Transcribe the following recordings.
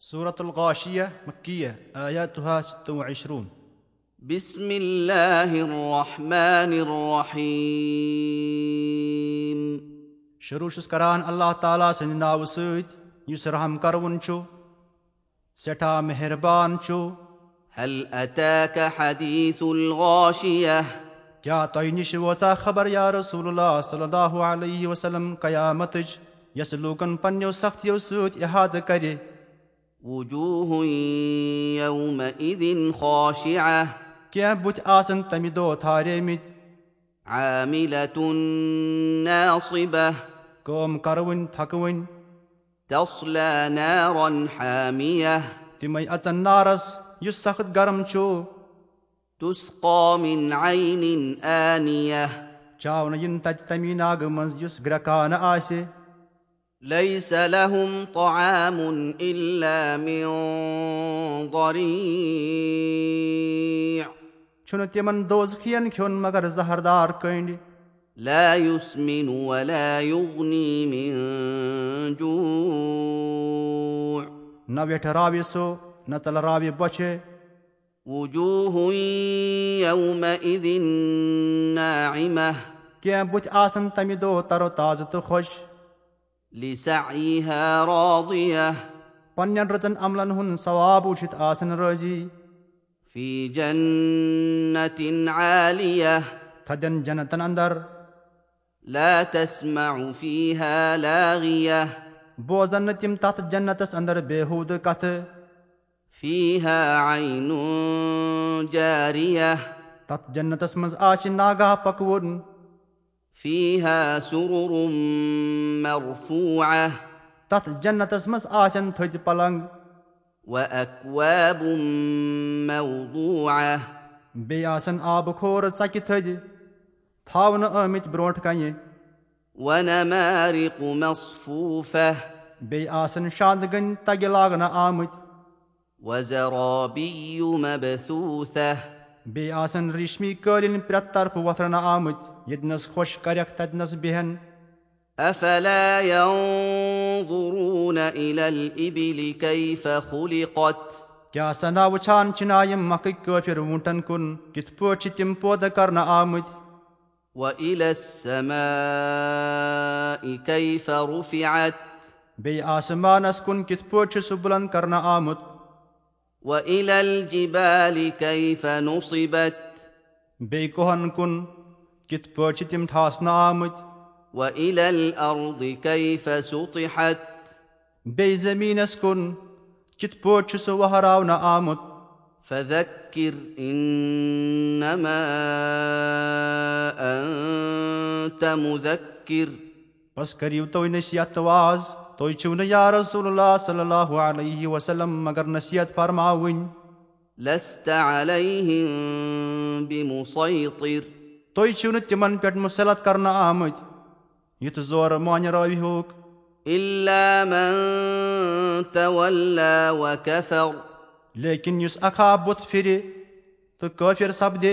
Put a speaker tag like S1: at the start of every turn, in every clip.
S1: سورة الغاشية مكية آياتها 26
S2: بسم الله الرحمن الرحيم
S1: شروع چھُس کران اللہ تعالیٰ سٕنٛدِ ناوٕ سۭتۍ یُس رحم کروُن چھُ سٮ۪ٹھاہ مہربان چھُ
S2: هل أتاك حديث الغاشية
S1: کیٛاہ تۄہہِ نِش وٲژاہ خبر یا رسول اللہ صلی اللہ علیہ وسلم قیامتٕچ یۄسہٕ لوٗکن پننیو سختیو سۭتۍ احادٕ کرِ
S2: وجوه يومئذ خاشعة
S1: کینٛہہ بُتھِ آسن تمہِ دۄہ تھاریمٕتۍ
S2: عاملة ناصبة
S1: کٲم کروٕنۍ تھکوٕنۍ
S2: تصلى نارا حامية
S1: تِمے اَژن نارس یُس سخت گرم چھُ
S2: تسقى من عين آنية
S1: چاونہٕ یِن تتہِ تمی ناگہٕ منٛز یُس گرٛکانہٕ آسہِ
S2: ليس لهم طعام إلا من ضريع
S1: چھُنہٕ تِمن دوزخِین کھیوٚن مگر زہردار کٔنڈۍ
S2: لا يسمن ولا يغني من جوع
S1: نہ ویٹھراوِ سُہ نہ ژلراوِ بۄچھِ
S2: وجوه يومئذ ناعمة
S1: کینٛہہ بُتھِ آسن تمہِ دۄہ ترو تازٕ تہٕ خۄش
S2: لسعيها راضية
S1: پننٮ۪ن رٕژن عملن ہُنٛد ثواب وٕچھِتھ آسن رٲضی
S2: في جنة عالية
S1: تھدٮ۪ن جنتن انٛدر
S2: لا تسمع فيها لاغية
S1: بوزن نہٕ تِم تتھ جنتس انٛدر بےحوٗدٕ کتھٕ
S2: فيها عين جارية
S1: تتھ جنتس منٛز آسہِ ناگاہ پکوُن
S2: فيها سرر مرفوعة
S1: تتھ جنتس منٛز آسن تھٔدۍ پلنٛگ
S2: وأكواب موضوعة
S1: بیٚیہِ آسن آبہٕ کھورٕ ژکہِ تھٔدۍ تھاونہٕ آمٕتۍ برونٛٹھ کنہِ
S2: ونمارق مصفوفة
S1: بیٚیہِ آسن شانٛدگٔنۍ تگہِ لاگنہٕ آمٕتۍ
S2: وزرابي مبثوثة
S1: بیٚیہِ آسن ریٖشمی قٲلیٖن پرٛٮ۪تھ طرفہٕ وۄتھرنہٕ آمٕتۍ ییٚتنس خۄش کریکھ تتنس بیٚہن
S2: أفلا ينظرون إلى الإبل كيف خلقت
S1: کیٛاہ سنا وٕچھان چھِنا یِم مکٕکۍ کٲفِر ووٗنٛٹن کُن کِتھ پٲٹھۍ چھِ تِم پٲدٕ کرنہٕ آمٕتۍ
S2: وإلى السماء كيف رفعت
S1: بیٚیہِ آسمانس کُن کِتھ پٲٹھۍ چھُ سُہ بُلنٛد کرنہٕ آمُت
S2: وإلى الجبال كيف نصبت
S1: بیٚیہِ کوہن کُن کِتھ پٲٹھۍ چھِ تِم ٹھاسنہٕ آمٕتۍ
S2: وإلى الأرض كيف سطحت
S1: بیٚیہِ زٔمیٖنس کُن کِتھ پٲٹھۍ چھُ سُہ وہراونہٕ آمُت
S2: فذكر إنما أنت مذكر
S1: بس کٔرِو تُہۍ نصیحت تہٕ واز تُہۍ چھِو نہٕ یا رسول اللہ صلی اللہ علیہ وسلم مگر نصیحت فرماوٕنۍ
S2: لست عليهم بمسيطر
S1: تُہۍ چھِو نہٕ تِمن پٮ۪ٹھ مُسلط کرنہٕ آمٕتۍ یُتھ زورٕ مۄنہِ رٲوِہوکھ
S2: إلا من تولى وكفر
S1: لیکن یُس اکھا بُتھ پھِرِ تہٕ کٲفِر سپدِ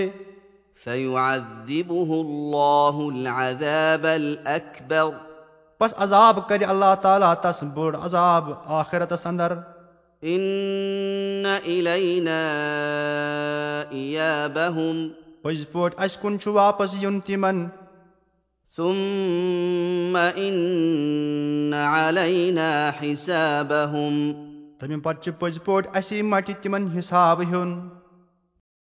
S2: فيعذبه الله العذاب الأكبر
S1: بس عذاب کرِ اللہ تعالیٰ تس بوٚڑ عذاب آخرتس انٛدر
S2: إن إلينا إيابهم
S1: پٔزۍ پٲٹھۍ اسہِ کُن چھُ واپس یُن تِمن
S2: ثم إن علينا حسابهم
S1: تمہِ پتہٕ چھُ پٔزۍ پٲٹھۍ اسی مٹہِ تِمن حساب ہیوٚن